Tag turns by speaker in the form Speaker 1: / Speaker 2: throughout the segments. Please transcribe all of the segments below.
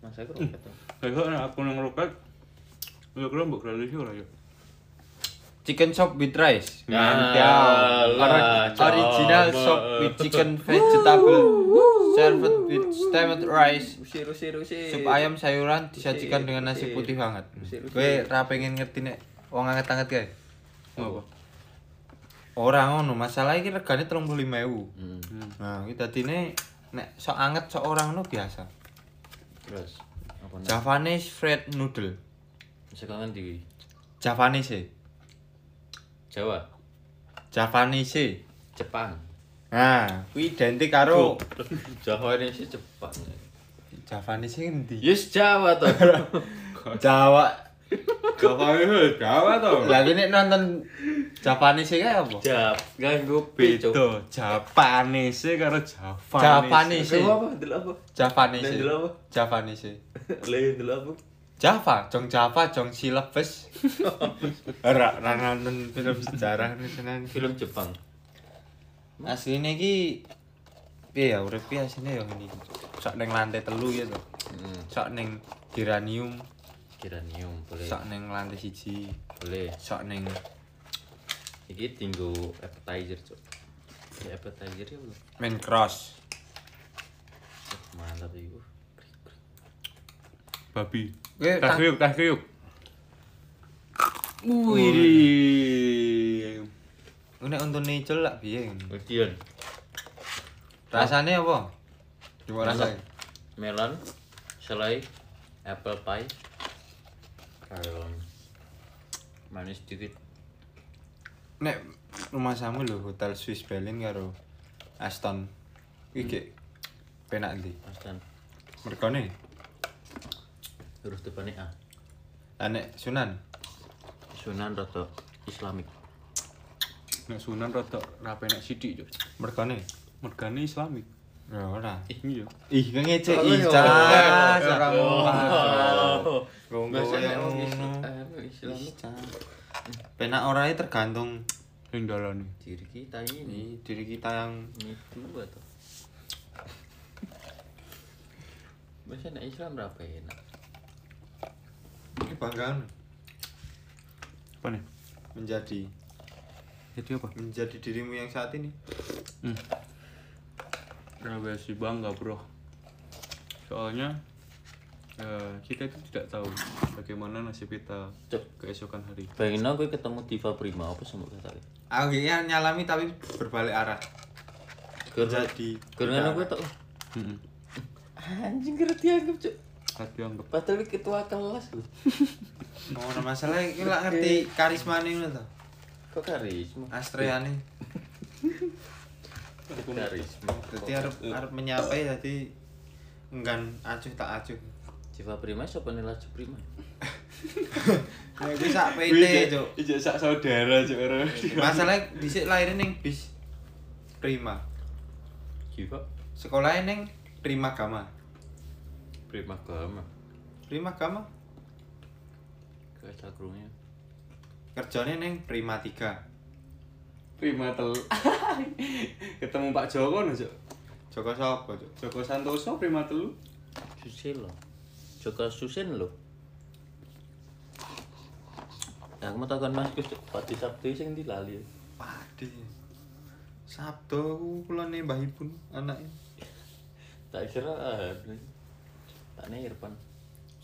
Speaker 1: Masa aku roket tuh.
Speaker 2: Kayak nek aku nang roket. Ya kira mbok gratis ora yo.
Speaker 3: Chicken shop with rice.
Speaker 1: Ya
Speaker 3: Mantel.
Speaker 1: lah,
Speaker 3: Ori- original
Speaker 1: coba.
Speaker 3: shop with chicken vegetable served with steamed rice.
Speaker 1: Usir usir usir.
Speaker 3: Sup ayam sayuran disajikan
Speaker 1: Sip,
Speaker 3: dengan nasi
Speaker 1: sip.
Speaker 3: putih hangat.
Speaker 1: Sip, sip.
Speaker 3: Kowe ra pengen ngerti nek wong anget-anget kae.
Speaker 2: Ngopo?
Speaker 3: Ora ngono, masalah iki regane 35.000.
Speaker 1: Hmm,
Speaker 3: Nah, iki dadine nek sok anget sok ora ngono biasa.
Speaker 1: Terus apa nih?
Speaker 3: Javanese fried noodle.
Speaker 1: Sekarang di
Speaker 3: Javanese.
Speaker 1: Jawa,
Speaker 3: Javanese.
Speaker 1: Jepang.
Speaker 3: Nah, kuwi identik karo
Speaker 1: Jawa ini sih Jepang.
Speaker 3: Javanese endi?
Speaker 1: Yes Jawa tuh.
Speaker 3: Jawa.
Speaker 2: Gawain he, gawa to.
Speaker 3: Lagi nek nonton Japanese kae apa?
Speaker 1: Jap, ganggu
Speaker 2: Beda Japanese karo Javanese.
Speaker 3: Japanese.
Speaker 1: Sih. apa? Dulu apa?
Speaker 3: Japanese.
Speaker 1: Dan dulu apa?
Speaker 3: Javanese.
Speaker 1: Lain dulu apa?
Speaker 3: Java, jong Java, jong silebes. Ora ora nonton film sejarah nih tenan.
Speaker 1: Film Jepang.
Speaker 3: Asline iki piye ya urip piye asline ya ngene iki. Sak ning lantai telu ya to.
Speaker 1: Hmm,
Speaker 3: Sak ning geranium,
Speaker 1: Kiranium boleh.
Speaker 3: sak ning lantai siji,
Speaker 1: Boleh.
Speaker 3: sak ning
Speaker 1: Iki tinggu appetizer, Cuk. Ya appetizer ya, Bu.
Speaker 3: main cross.
Speaker 1: Mantap iku.
Speaker 2: Babi.
Speaker 3: Kowe
Speaker 2: Tas kriuk, tas kriuk. Wih.
Speaker 3: ngene untune icul lak piye.
Speaker 1: Kemudian
Speaker 3: Rasane apa? Coba rasane.
Speaker 1: melon, selai, apple pie. Kalau manis dikit.
Speaker 3: Nek rumah samu lho Hotel Swiss Berlin karo Aston. Iki gek penak ndi?
Speaker 1: Astan.
Speaker 3: Merkone.
Speaker 1: Terus depannya ah, A.
Speaker 3: Lah nek Sunan
Speaker 1: Sunan Roto Islamik.
Speaker 2: Nek Sunan rada rapi nek sithik yo.
Speaker 3: merkone.
Speaker 2: Mergane Islamik.
Speaker 3: Ya ora.
Speaker 2: Iya.
Speaker 3: Ih, kan ngece
Speaker 1: Oh, iya.
Speaker 3: Ica.
Speaker 1: Oh,
Speaker 3: Ora
Speaker 1: Oh.
Speaker 3: Gonggo
Speaker 1: Bahasa
Speaker 3: yang
Speaker 1: nek wong
Speaker 3: ngono.
Speaker 1: Islam- anu, Islamik.
Speaker 3: Ica. Penak orae tergantung
Speaker 2: Ning dalane.
Speaker 1: Diri kita ini.
Speaker 3: di diri kita yang
Speaker 1: Ini dua tuh. Bahasa nek Islam berapa ya, enak?
Speaker 3: ini banggaan
Speaker 2: Apa nih?
Speaker 3: menjadi
Speaker 2: Jadi apa?
Speaker 3: menjadi dirimu yang saat ini.
Speaker 2: Hmm. Rahasia bangga bro. Soalnya eh, kita itu tidak tahu bagaimana nasib kita
Speaker 1: Cuk.
Speaker 2: keesokan hari.
Speaker 1: Bayangin aku ketemu Diva Prima apa sama kata
Speaker 3: Akhirnya nyalami tapi berbalik arah.
Speaker 1: Kerja
Speaker 3: Jadi
Speaker 1: Kurungan aku ya, tuh
Speaker 2: Mm-mm.
Speaker 1: Anjing kira dianggap cuk
Speaker 2: Tapi anggap
Speaker 1: Padahal ketua kelas lu
Speaker 3: Ora Oh, masalah iki lak ngerti karismane ngono to.
Speaker 1: Kok karisma?
Speaker 3: Astreane.
Speaker 1: Kok Karisma
Speaker 3: Dadi arep arep menyapai dadi enggan acuh tak acuh.
Speaker 1: Diva Prima siapa nih Laju Prima?
Speaker 3: Nek kuwi sak PT, Cuk.
Speaker 2: Ijak sak saudara cuk. Ro.
Speaker 3: Masalah dhisik lair ning bis Prima.
Speaker 1: Diva
Speaker 3: Sekolahnya ning Prima Gama.
Speaker 1: Prima Gama
Speaker 3: Prima Gama
Speaker 1: Kata kerungnya
Speaker 3: kerjane ning Prima 3.
Speaker 2: Prima telu. Ketemu Pak Joko nih cuk.
Speaker 3: Joko sapa, Cuk?
Speaker 2: Joko Santoso Prima telu.
Speaker 1: Susilo Joko Susin lo Aku mau takon mas Gus Cuk. Pati Sabtu sing di lali
Speaker 3: Padi. Sabdo aku kulone Mbah Ibun anake.
Speaker 1: Tak kira ah, Tak nih Irfan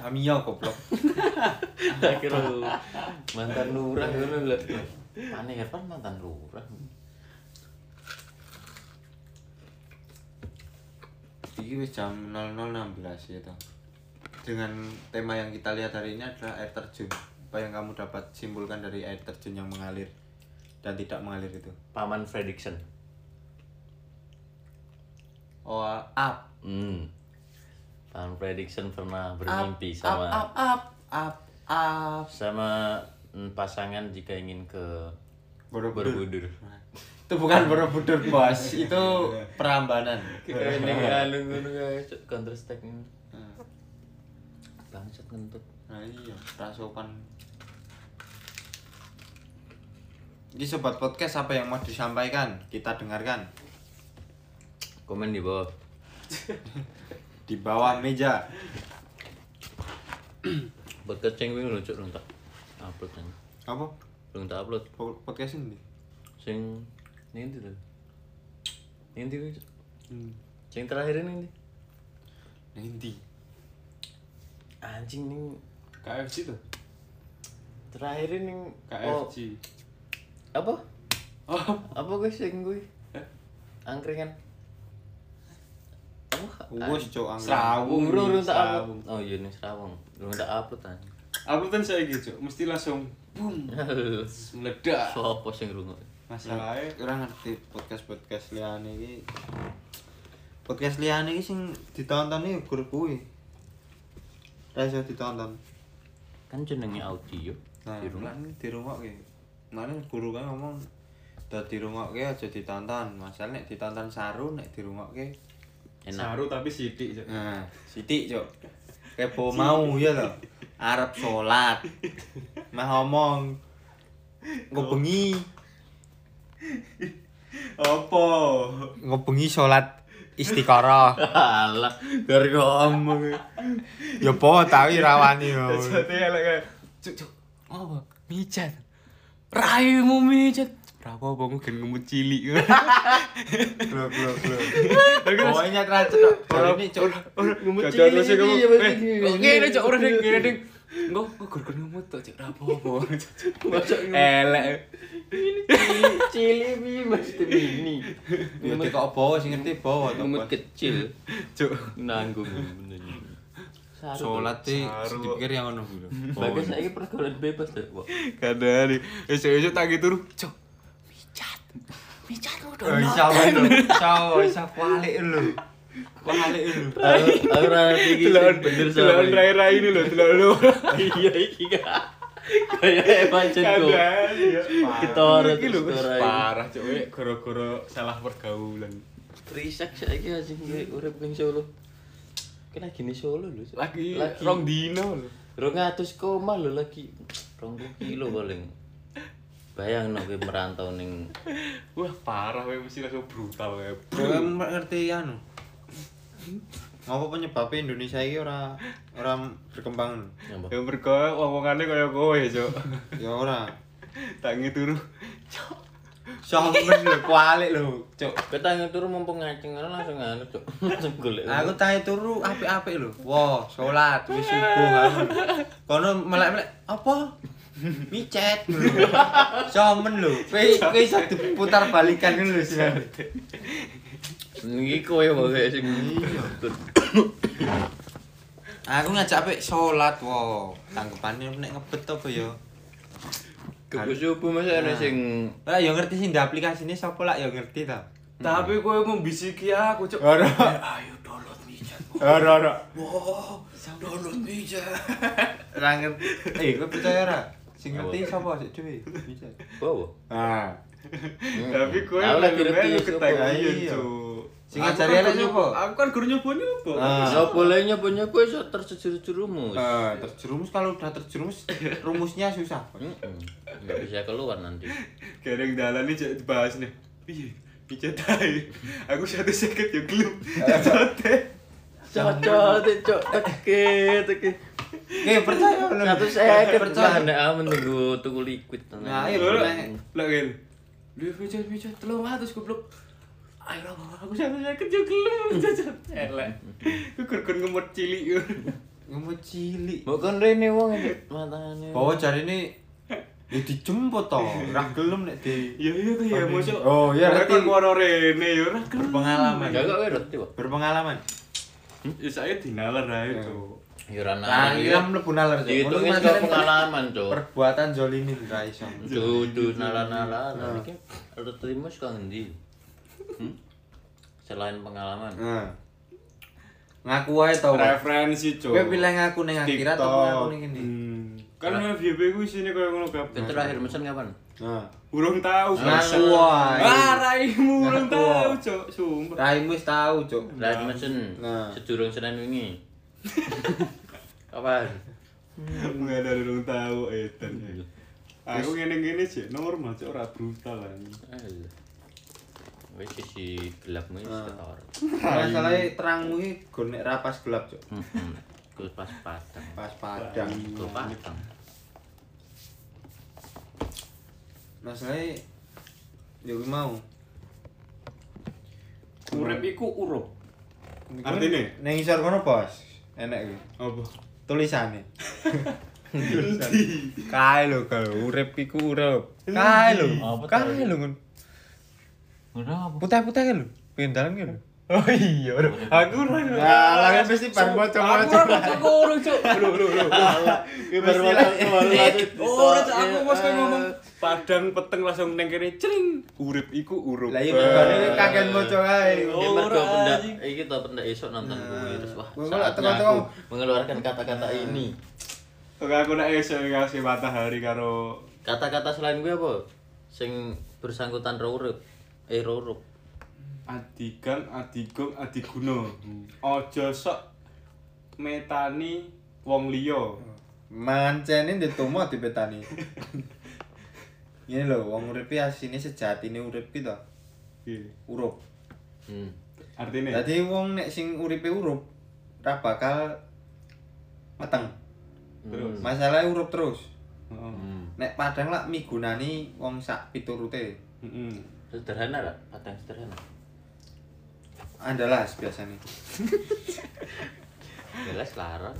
Speaker 3: Samia goblok.
Speaker 1: Tak kira mantan lurah ngono lho. Pane Irfan mantan lurah.
Speaker 3: Iki wis jam 00.16 ya toh. Dengan tema yang kita lihat hari ini adalah air terjun. Apa yang kamu dapat simpulkan dari air terjun yang mengalir dan tidak mengalir itu?
Speaker 1: Paman Fredrickson.
Speaker 3: Oh, up,
Speaker 1: Hmm. Paman Fredrickson pernah
Speaker 3: up,
Speaker 1: bermimpi
Speaker 3: up,
Speaker 1: sama
Speaker 3: up, up, up, up.
Speaker 1: sama mm, pasangan jika ingin ke
Speaker 3: Borobudur.
Speaker 1: Borobudur.
Speaker 3: Itu bukan Borobudur, Bos. itu perambanan.
Speaker 1: Ini anu ngono guys, counter strike ini. Hmm. Bangsat ngentut.
Speaker 3: Nah, iya, rasopan. Ini sobat podcast apa yang mau disampaikan? Kita dengarkan
Speaker 1: Komen di bawah.
Speaker 3: di bawah meja.
Speaker 1: berkecing wingi lho cuk rung tak upload kan.
Speaker 3: Apa?
Speaker 1: Rung tak upload
Speaker 3: Po- Podcast ini?
Speaker 1: sing ini lho. Ini kuwi Cuk.
Speaker 3: Hmm.
Speaker 1: sing terakhir ini.
Speaker 3: Nanti.
Speaker 1: Anjing ning
Speaker 2: KFC tuh.
Speaker 1: terakhir ini oh,
Speaker 2: KFC.
Speaker 1: apa?
Speaker 2: Oh.
Speaker 1: Apa kuwi sing kuwi?
Speaker 2: Eh?
Speaker 1: Angkringan. Apa?
Speaker 3: Wes cok angkat.
Speaker 2: Serawung.
Speaker 1: Urung urung tak
Speaker 2: Serawung.
Speaker 1: upload. Oh iya nih serawung. Urung tak upload kan.
Speaker 2: Uploadan saya gitu, mesti langsung boom meledak.
Speaker 1: Sopo sing rungok?
Speaker 2: Masalahnya
Speaker 3: Ora ngerti podcast-podcast liyane iki. Podcast liyane iki sing ditontoni ya gur kuwi. Ra iso ditonton.
Speaker 1: Kan jenenge audio.
Speaker 3: Nah,
Speaker 1: dirungok.
Speaker 3: kan dirungokke. Mana guru kan ngomong "Dah dirungokke aja ditonton. Masalah nek ditonton saru nek dirungokke
Speaker 1: Enak.
Speaker 2: saru tapi sidik. Cuk.
Speaker 3: Nah, sidik cok. Kepo mau ya to. Arep sholat. Mah ngomong ngebengi,
Speaker 2: Apa?
Speaker 3: ngebengi sholat istiqoroh.
Speaker 1: Alah, dari ngomong.
Speaker 3: Ya po tahu rawani yo.
Speaker 2: Jadi elek kayak cuk cuk.
Speaker 3: Oh, mijat. Raimu mijat. Rapo apa gen ngemut cilik. Bro, bro, bro. Pokoknya terus Oh, cok. Kalau ini cok.
Speaker 2: Jajan lu sih kamu. Eh,
Speaker 1: Oke, ini cok urus ding, ding.
Speaker 3: Engko gur gur ngemut tok cok. Rapo apa.
Speaker 1: Masuk
Speaker 3: Elek.
Speaker 1: cili bi mesti ini.
Speaker 3: Yo tek kok bawa sing ngerti bawa to.
Speaker 1: Ngemut kecil,
Speaker 3: Cok.
Speaker 1: nanggung bener.
Speaker 3: Salat sih
Speaker 2: Saru.
Speaker 3: dipikir yang ngono dulu.
Speaker 1: Bagus saiki pergaulan bebas deh, Pak.
Speaker 3: Kadang esuk-esuk tak gitu cok.
Speaker 4: Mijat. Mijat lu dong.
Speaker 3: Eh, sawo lho. Sawo, sawo alik lho. Alik lho.
Speaker 1: Aku ora ngerti iki sing bener sama.
Speaker 2: Telan rai-rai ini loh, telan lu.
Speaker 1: Iya iki gak. Kayak pancen kok.
Speaker 2: Kadang iya.
Speaker 1: Kita ora
Speaker 2: Iki lho,
Speaker 1: terus ora.
Speaker 2: parah cuk, weh, gara-gara salah pergaulan.
Speaker 1: Trisak saiki anjing iki urip ning Solo. Kena gini Solo lho. Cok.
Speaker 2: Lagi rong dino lho.
Speaker 1: Rong atus koma lho lagi. Rong puluh kilo paling. Bayang nek merantau ning
Speaker 2: Wah, parah weh mesti langsung brutal weh.
Speaker 3: Gue ngerti anu. Ngapa penyebabnya Indonesia ini ora ora berkembang?
Speaker 1: Apa?
Speaker 2: Yang mergo wong-wongane kaya kowe, cuk.
Speaker 3: Ya ora.
Speaker 2: Tangi turu. Cuk.
Speaker 3: Sampen lho kualik lho, Cuk.
Speaker 1: Ketang turu mumpung ngaceng ora langsung anu, Cuk. Langsung golek.
Speaker 3: Aku tahe turu apik-apik lho. Wah, salat wis subuh aku. Kono melek-melek apa? Micet lho. Sampen lho. Kowe kowe iso diputar balikan ngono lho sih.
Speaker 1: Niki kowe wae kayak sing
Speaker 3: Aku ngajak apik salat wah. Tanggepane nek ngebet apa ya?
Speaker 1: Kebusubu masa ana sing
Speaker 3: Lah ya ngerti sih ndak aplikasine sapa lak ya ngerti ta.
Speaker 2: Tapi kowe membisiki aku, cuk.
Speaker 3: Ora.
Speaker 2: Ayo download mijat.
Speaker 3: Ora ora.
Speaker 2: Wah, download mijat.
Speaker 3: Ra ngerti. Eh, kowe percaya ora? Sing ngerti sapa sik dhewe?
Speaker 1: bawa.
Speaker 3: Ah.
Speaker 2: Tapi kowe
Speaker 1: Aku lagi
Speaker 2: lebih
Speaker 1: ngerti
Speaker 2: melu
Speaker 1: sapa.
Speaker 2: ketagihan,
Speaker 3: Iya.
Speaker 2: cuk.
Speaker 3: Sing
Speaker 2: Aku
Speaker 3: ngajari
Speaker 2: kan
Speaker 3: elek
Speaker 2: guru-
Speaker 3: sapa?
Speaker 2: Aku kan guru nyobone apa?
Speaker 3: Ah.
Speaker 1: Lah bolehnya punya kowe iso terjerumus.
Speaker 2: Ah.
Speaker 3: Eh, terjerumus kalau udah terjerumus rumusnya susah.
Speaker 1: Heeh. Nggak bisa keluar nanti.
Speaker 2: Gereng dalan ini cek dibahas nih. Piye? Pijat ae. Aku satu seket yo gelem.
Speaker 3: Ah.
Speaker 2: Cote.
Speaker 1: Cocok, cocok, teke, teke.
Speaker 3: Oke, percaya belum?
Speaker 1: Satu saya
Speaker 3: percaya.
Speaker 1: percaya. Nek aman tunggu tunggu liquid.
Speaker 3: Nah, iya,
Speaker 2: Lho,
Speaker 3: boleh.
Speaker 2: lho kan. Lu pijat pijat 300 goblok. Ayo lah, aku satu seket yo gelem. Cocot. Elek. Ku kurkun ngemut cilik. yo.
Speaker 3: Ngomong cilik.
Speaker 1: Mbok kon rene wong iki matane.
Speaker 3: Bawa jari ini ya dijemput toh. Ra gelem nek di
Speaker 2: Ya iya tuh ya mosok.
Speaker 3: Oh, iya,
Speaker 2: Mereka
Speaker 3: ngerti.
Speaker 2: kan ngono rene yo ora gelem.
Speaker 3: berpengalaman.
Speaker 1: Jaga kowe roti, Pak.
Speaker 3: Berpengalaman.
Speaker 2: Ya saya dinalar ae, Cuk.
Speaker 1: Ya ora
Speaker 3: Nah, kira mlebu nalar. Cok.
Speaker 1: Itu
Speaker 3: Ngono
Speaker 1: wis
Speaker 3: masalahnya
Speaker 1: pengalaman, Cuk.
Speaker 3: Perbuatan zolimi ra iso.
Speaker 1: Dudu nala-nala kan
Speaker 3: Nah.
Speaker 1: iki rutimu saka endi? Hmm? Selain pengalaman.
Speaker 3: Nah. Ngaku wae to.
Speaker 2: Referensi, Cuk.
Speaker 3: Iya. Kowe pilih ngaku ning akhirat apa ngaku ning kene?
Speaker 2: Hmm. Kan FYP ku isine koyo ngono
Speaker 1: Itu
Speaker 2: kabeh.
Speaker 1: Kan terakhir mesen kapan?
Speaker 3: Nah.
Speaker 2: Urung tahu.
Speaker 3: Ngaku wae.
Speaker 2: Ah, raimu urung
Speaker 3: Ngaku.
Speaker 2: tahu, Cuk. Sumpah.
Speaker 3: Raimu wis tahu, Cuk.
Speaker 1: Terakhir mesen.
Speaker 3: Nah.
Speaker 1: Sedurung Senin wingi. Kapan?
Speaker 3: Hmm.
Speaker 2: Enggak ada urung tahu edan. Aku ngene-ngene sih normal, Cuk, ora brutal kan.
Speaker 1: Alah. Wis
Speaker 3: Nah.
Speaker 1: sisi gelapmu wis ketara.
Speaker 3: Masalahnya terangmu iki gon nek rapas gelap, Cuk.
Speaker 1: Gol pas padang.
Speaker 3: Pas padang.
Speaker 1: Gol padang.
Speaker 3: Masalahnya ya gue mau.
Speaker 2: Urip iku urup.
Speaker 3: Artinya? Neng isor kono bos. Enak gue.
Speaker 2: Apa?
Speaker 3: Tulisannya. Kae lho kalau urip iku urip. Kae lho.
Speaker 2: Oh,
Speaker 1: Apa
Speaker 3: Kae lho ngun.
Speaker 1: Ngono apa?
Speaker 3: Putih-putih kae lho. Pengen dalan kae lho.
Speaker 2: Oh iya, bro. Aku ora.
Speaker 3: Nah, lah kan mesti bar
Speaker 2: Aku
Speaker 3: bocor-bocor.
Speaker 2: ora cok ora cok. Lho lho lho.
Speaker 1: Iya.
Speaker 3: baru
Speaker 1: Oh,
Speaker 2: Ora cok aku pas kowe ngomong
Speaker 3: Eh.
Speaker 2: padang peteng langsung neng kene cering. Urip iku urup.
Speaker 3: Lah iya mergane kaget bocor ae.
Speaker 1: Ini
Speaker 2: Oh,
Speaker 1: mergo
Speaker 2: ora,
Speaker 1: benda
Speaker 2: anjing. Nah,
Speaker 1: iki to benda esok nonton kuwi terus wah.
Speaker 3: Gua kalau
Speaker 1: Saatnya
Speaker 3: tengok-tengok.
Speaker 1: aku mengeluarkan kata-kata ini.
Speaker 2: Oke, aku nak esok ngasih matahari karo
Speaker 1: Kata-kata selain gue apa? Sing bersangkutan ro urip. Eh ro urup.
Speaker 2: Adigang, Adigong, Adiguna. Hmm. Aja sok metani wong liya.
Speaker 3: Mancene ditumo dipetani. Ini lho, wong urip iki asine sejatine urip ki to.
Speaker 2: Piye?
Speaker 3: Urup.
Speaker 1: Hmm.
Speaker 2: Artine
Speaker 3: Dadi wong nek sing uripe urup ra bakal meteng.
Speaker 2: terus.
Speaker 3: Masalahnya urup terus.
Speaker 2: Heeh.
Speaker 1: Hmm.
Speaker 3: Nek padang lak migunani wong sak piturute.
Speaker 2: Heeh.
Speaker 1: Sederhana lah, padang sederhana.
Speaker 3: Andalas biasane.
Speaker 1: Jelas larang.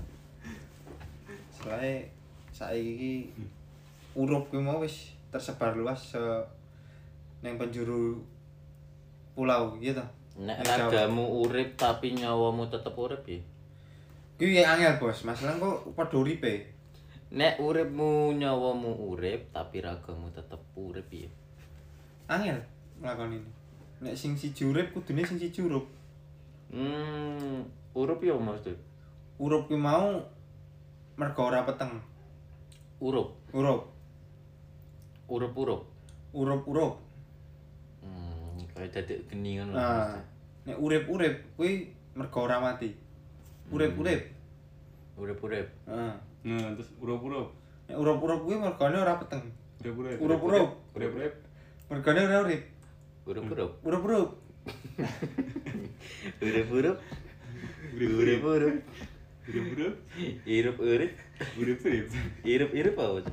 Speaker 3: Soale saiki iki urup kuwi mau wis tersebar luas se nang penjuru pulau gitu.
Speaker 1: Nek
Speaker 3: Nang Jawa.
Speaker 1: ragamu urip tapi nyawamu tetep urip ya.
Speaker 3: Kuwi yang angel, Bos. Masalah kok padha uripe.
Speaker 1: Nek uripmu nyawamu urip tapi ragamu tetep urip ya.
Speaker 3: Angel nglakoni ini. Nek sing siji urip kudune sing siji urup.
Speaker 1: Hmm, urup ya maksud.
Speaker 3: Urup kuwi mau mergo ora peteng.
Speaker 1: Urup,
Speaker 3: Urup,
Speaker 1: urup-urup.
Speaker 3: urup-urup.
Speaker 1: Hmm, kayak dadik geni kan, ngono.
Speaker 3: Nah, nek urip-urip kuwi mergo ora mati. Urip-urip.
Speaker 1: Urip-urip.
Speaker 3: Heeh.
Speaker 2: Nah, terus urup-urup.
Speaker 3: Nek urip-urip kuwi mergane ora peteng.
Speaker 2: Urup-urup.
Speaker 3: Urup-urup.
Speaker 2: Urip-urip.
Speaker 3: Mergane ora urip.
Speaker 1: Urup-urup.
Speaker 3: Urup-urup.
Speaker 1: Urup-urup. Urup-urup.
Speaker 2: Urup-urup.
Speaker 1: Irup-urip.
Speaker 2: Urip-urip.
Speaker 1: Irup-irup apa?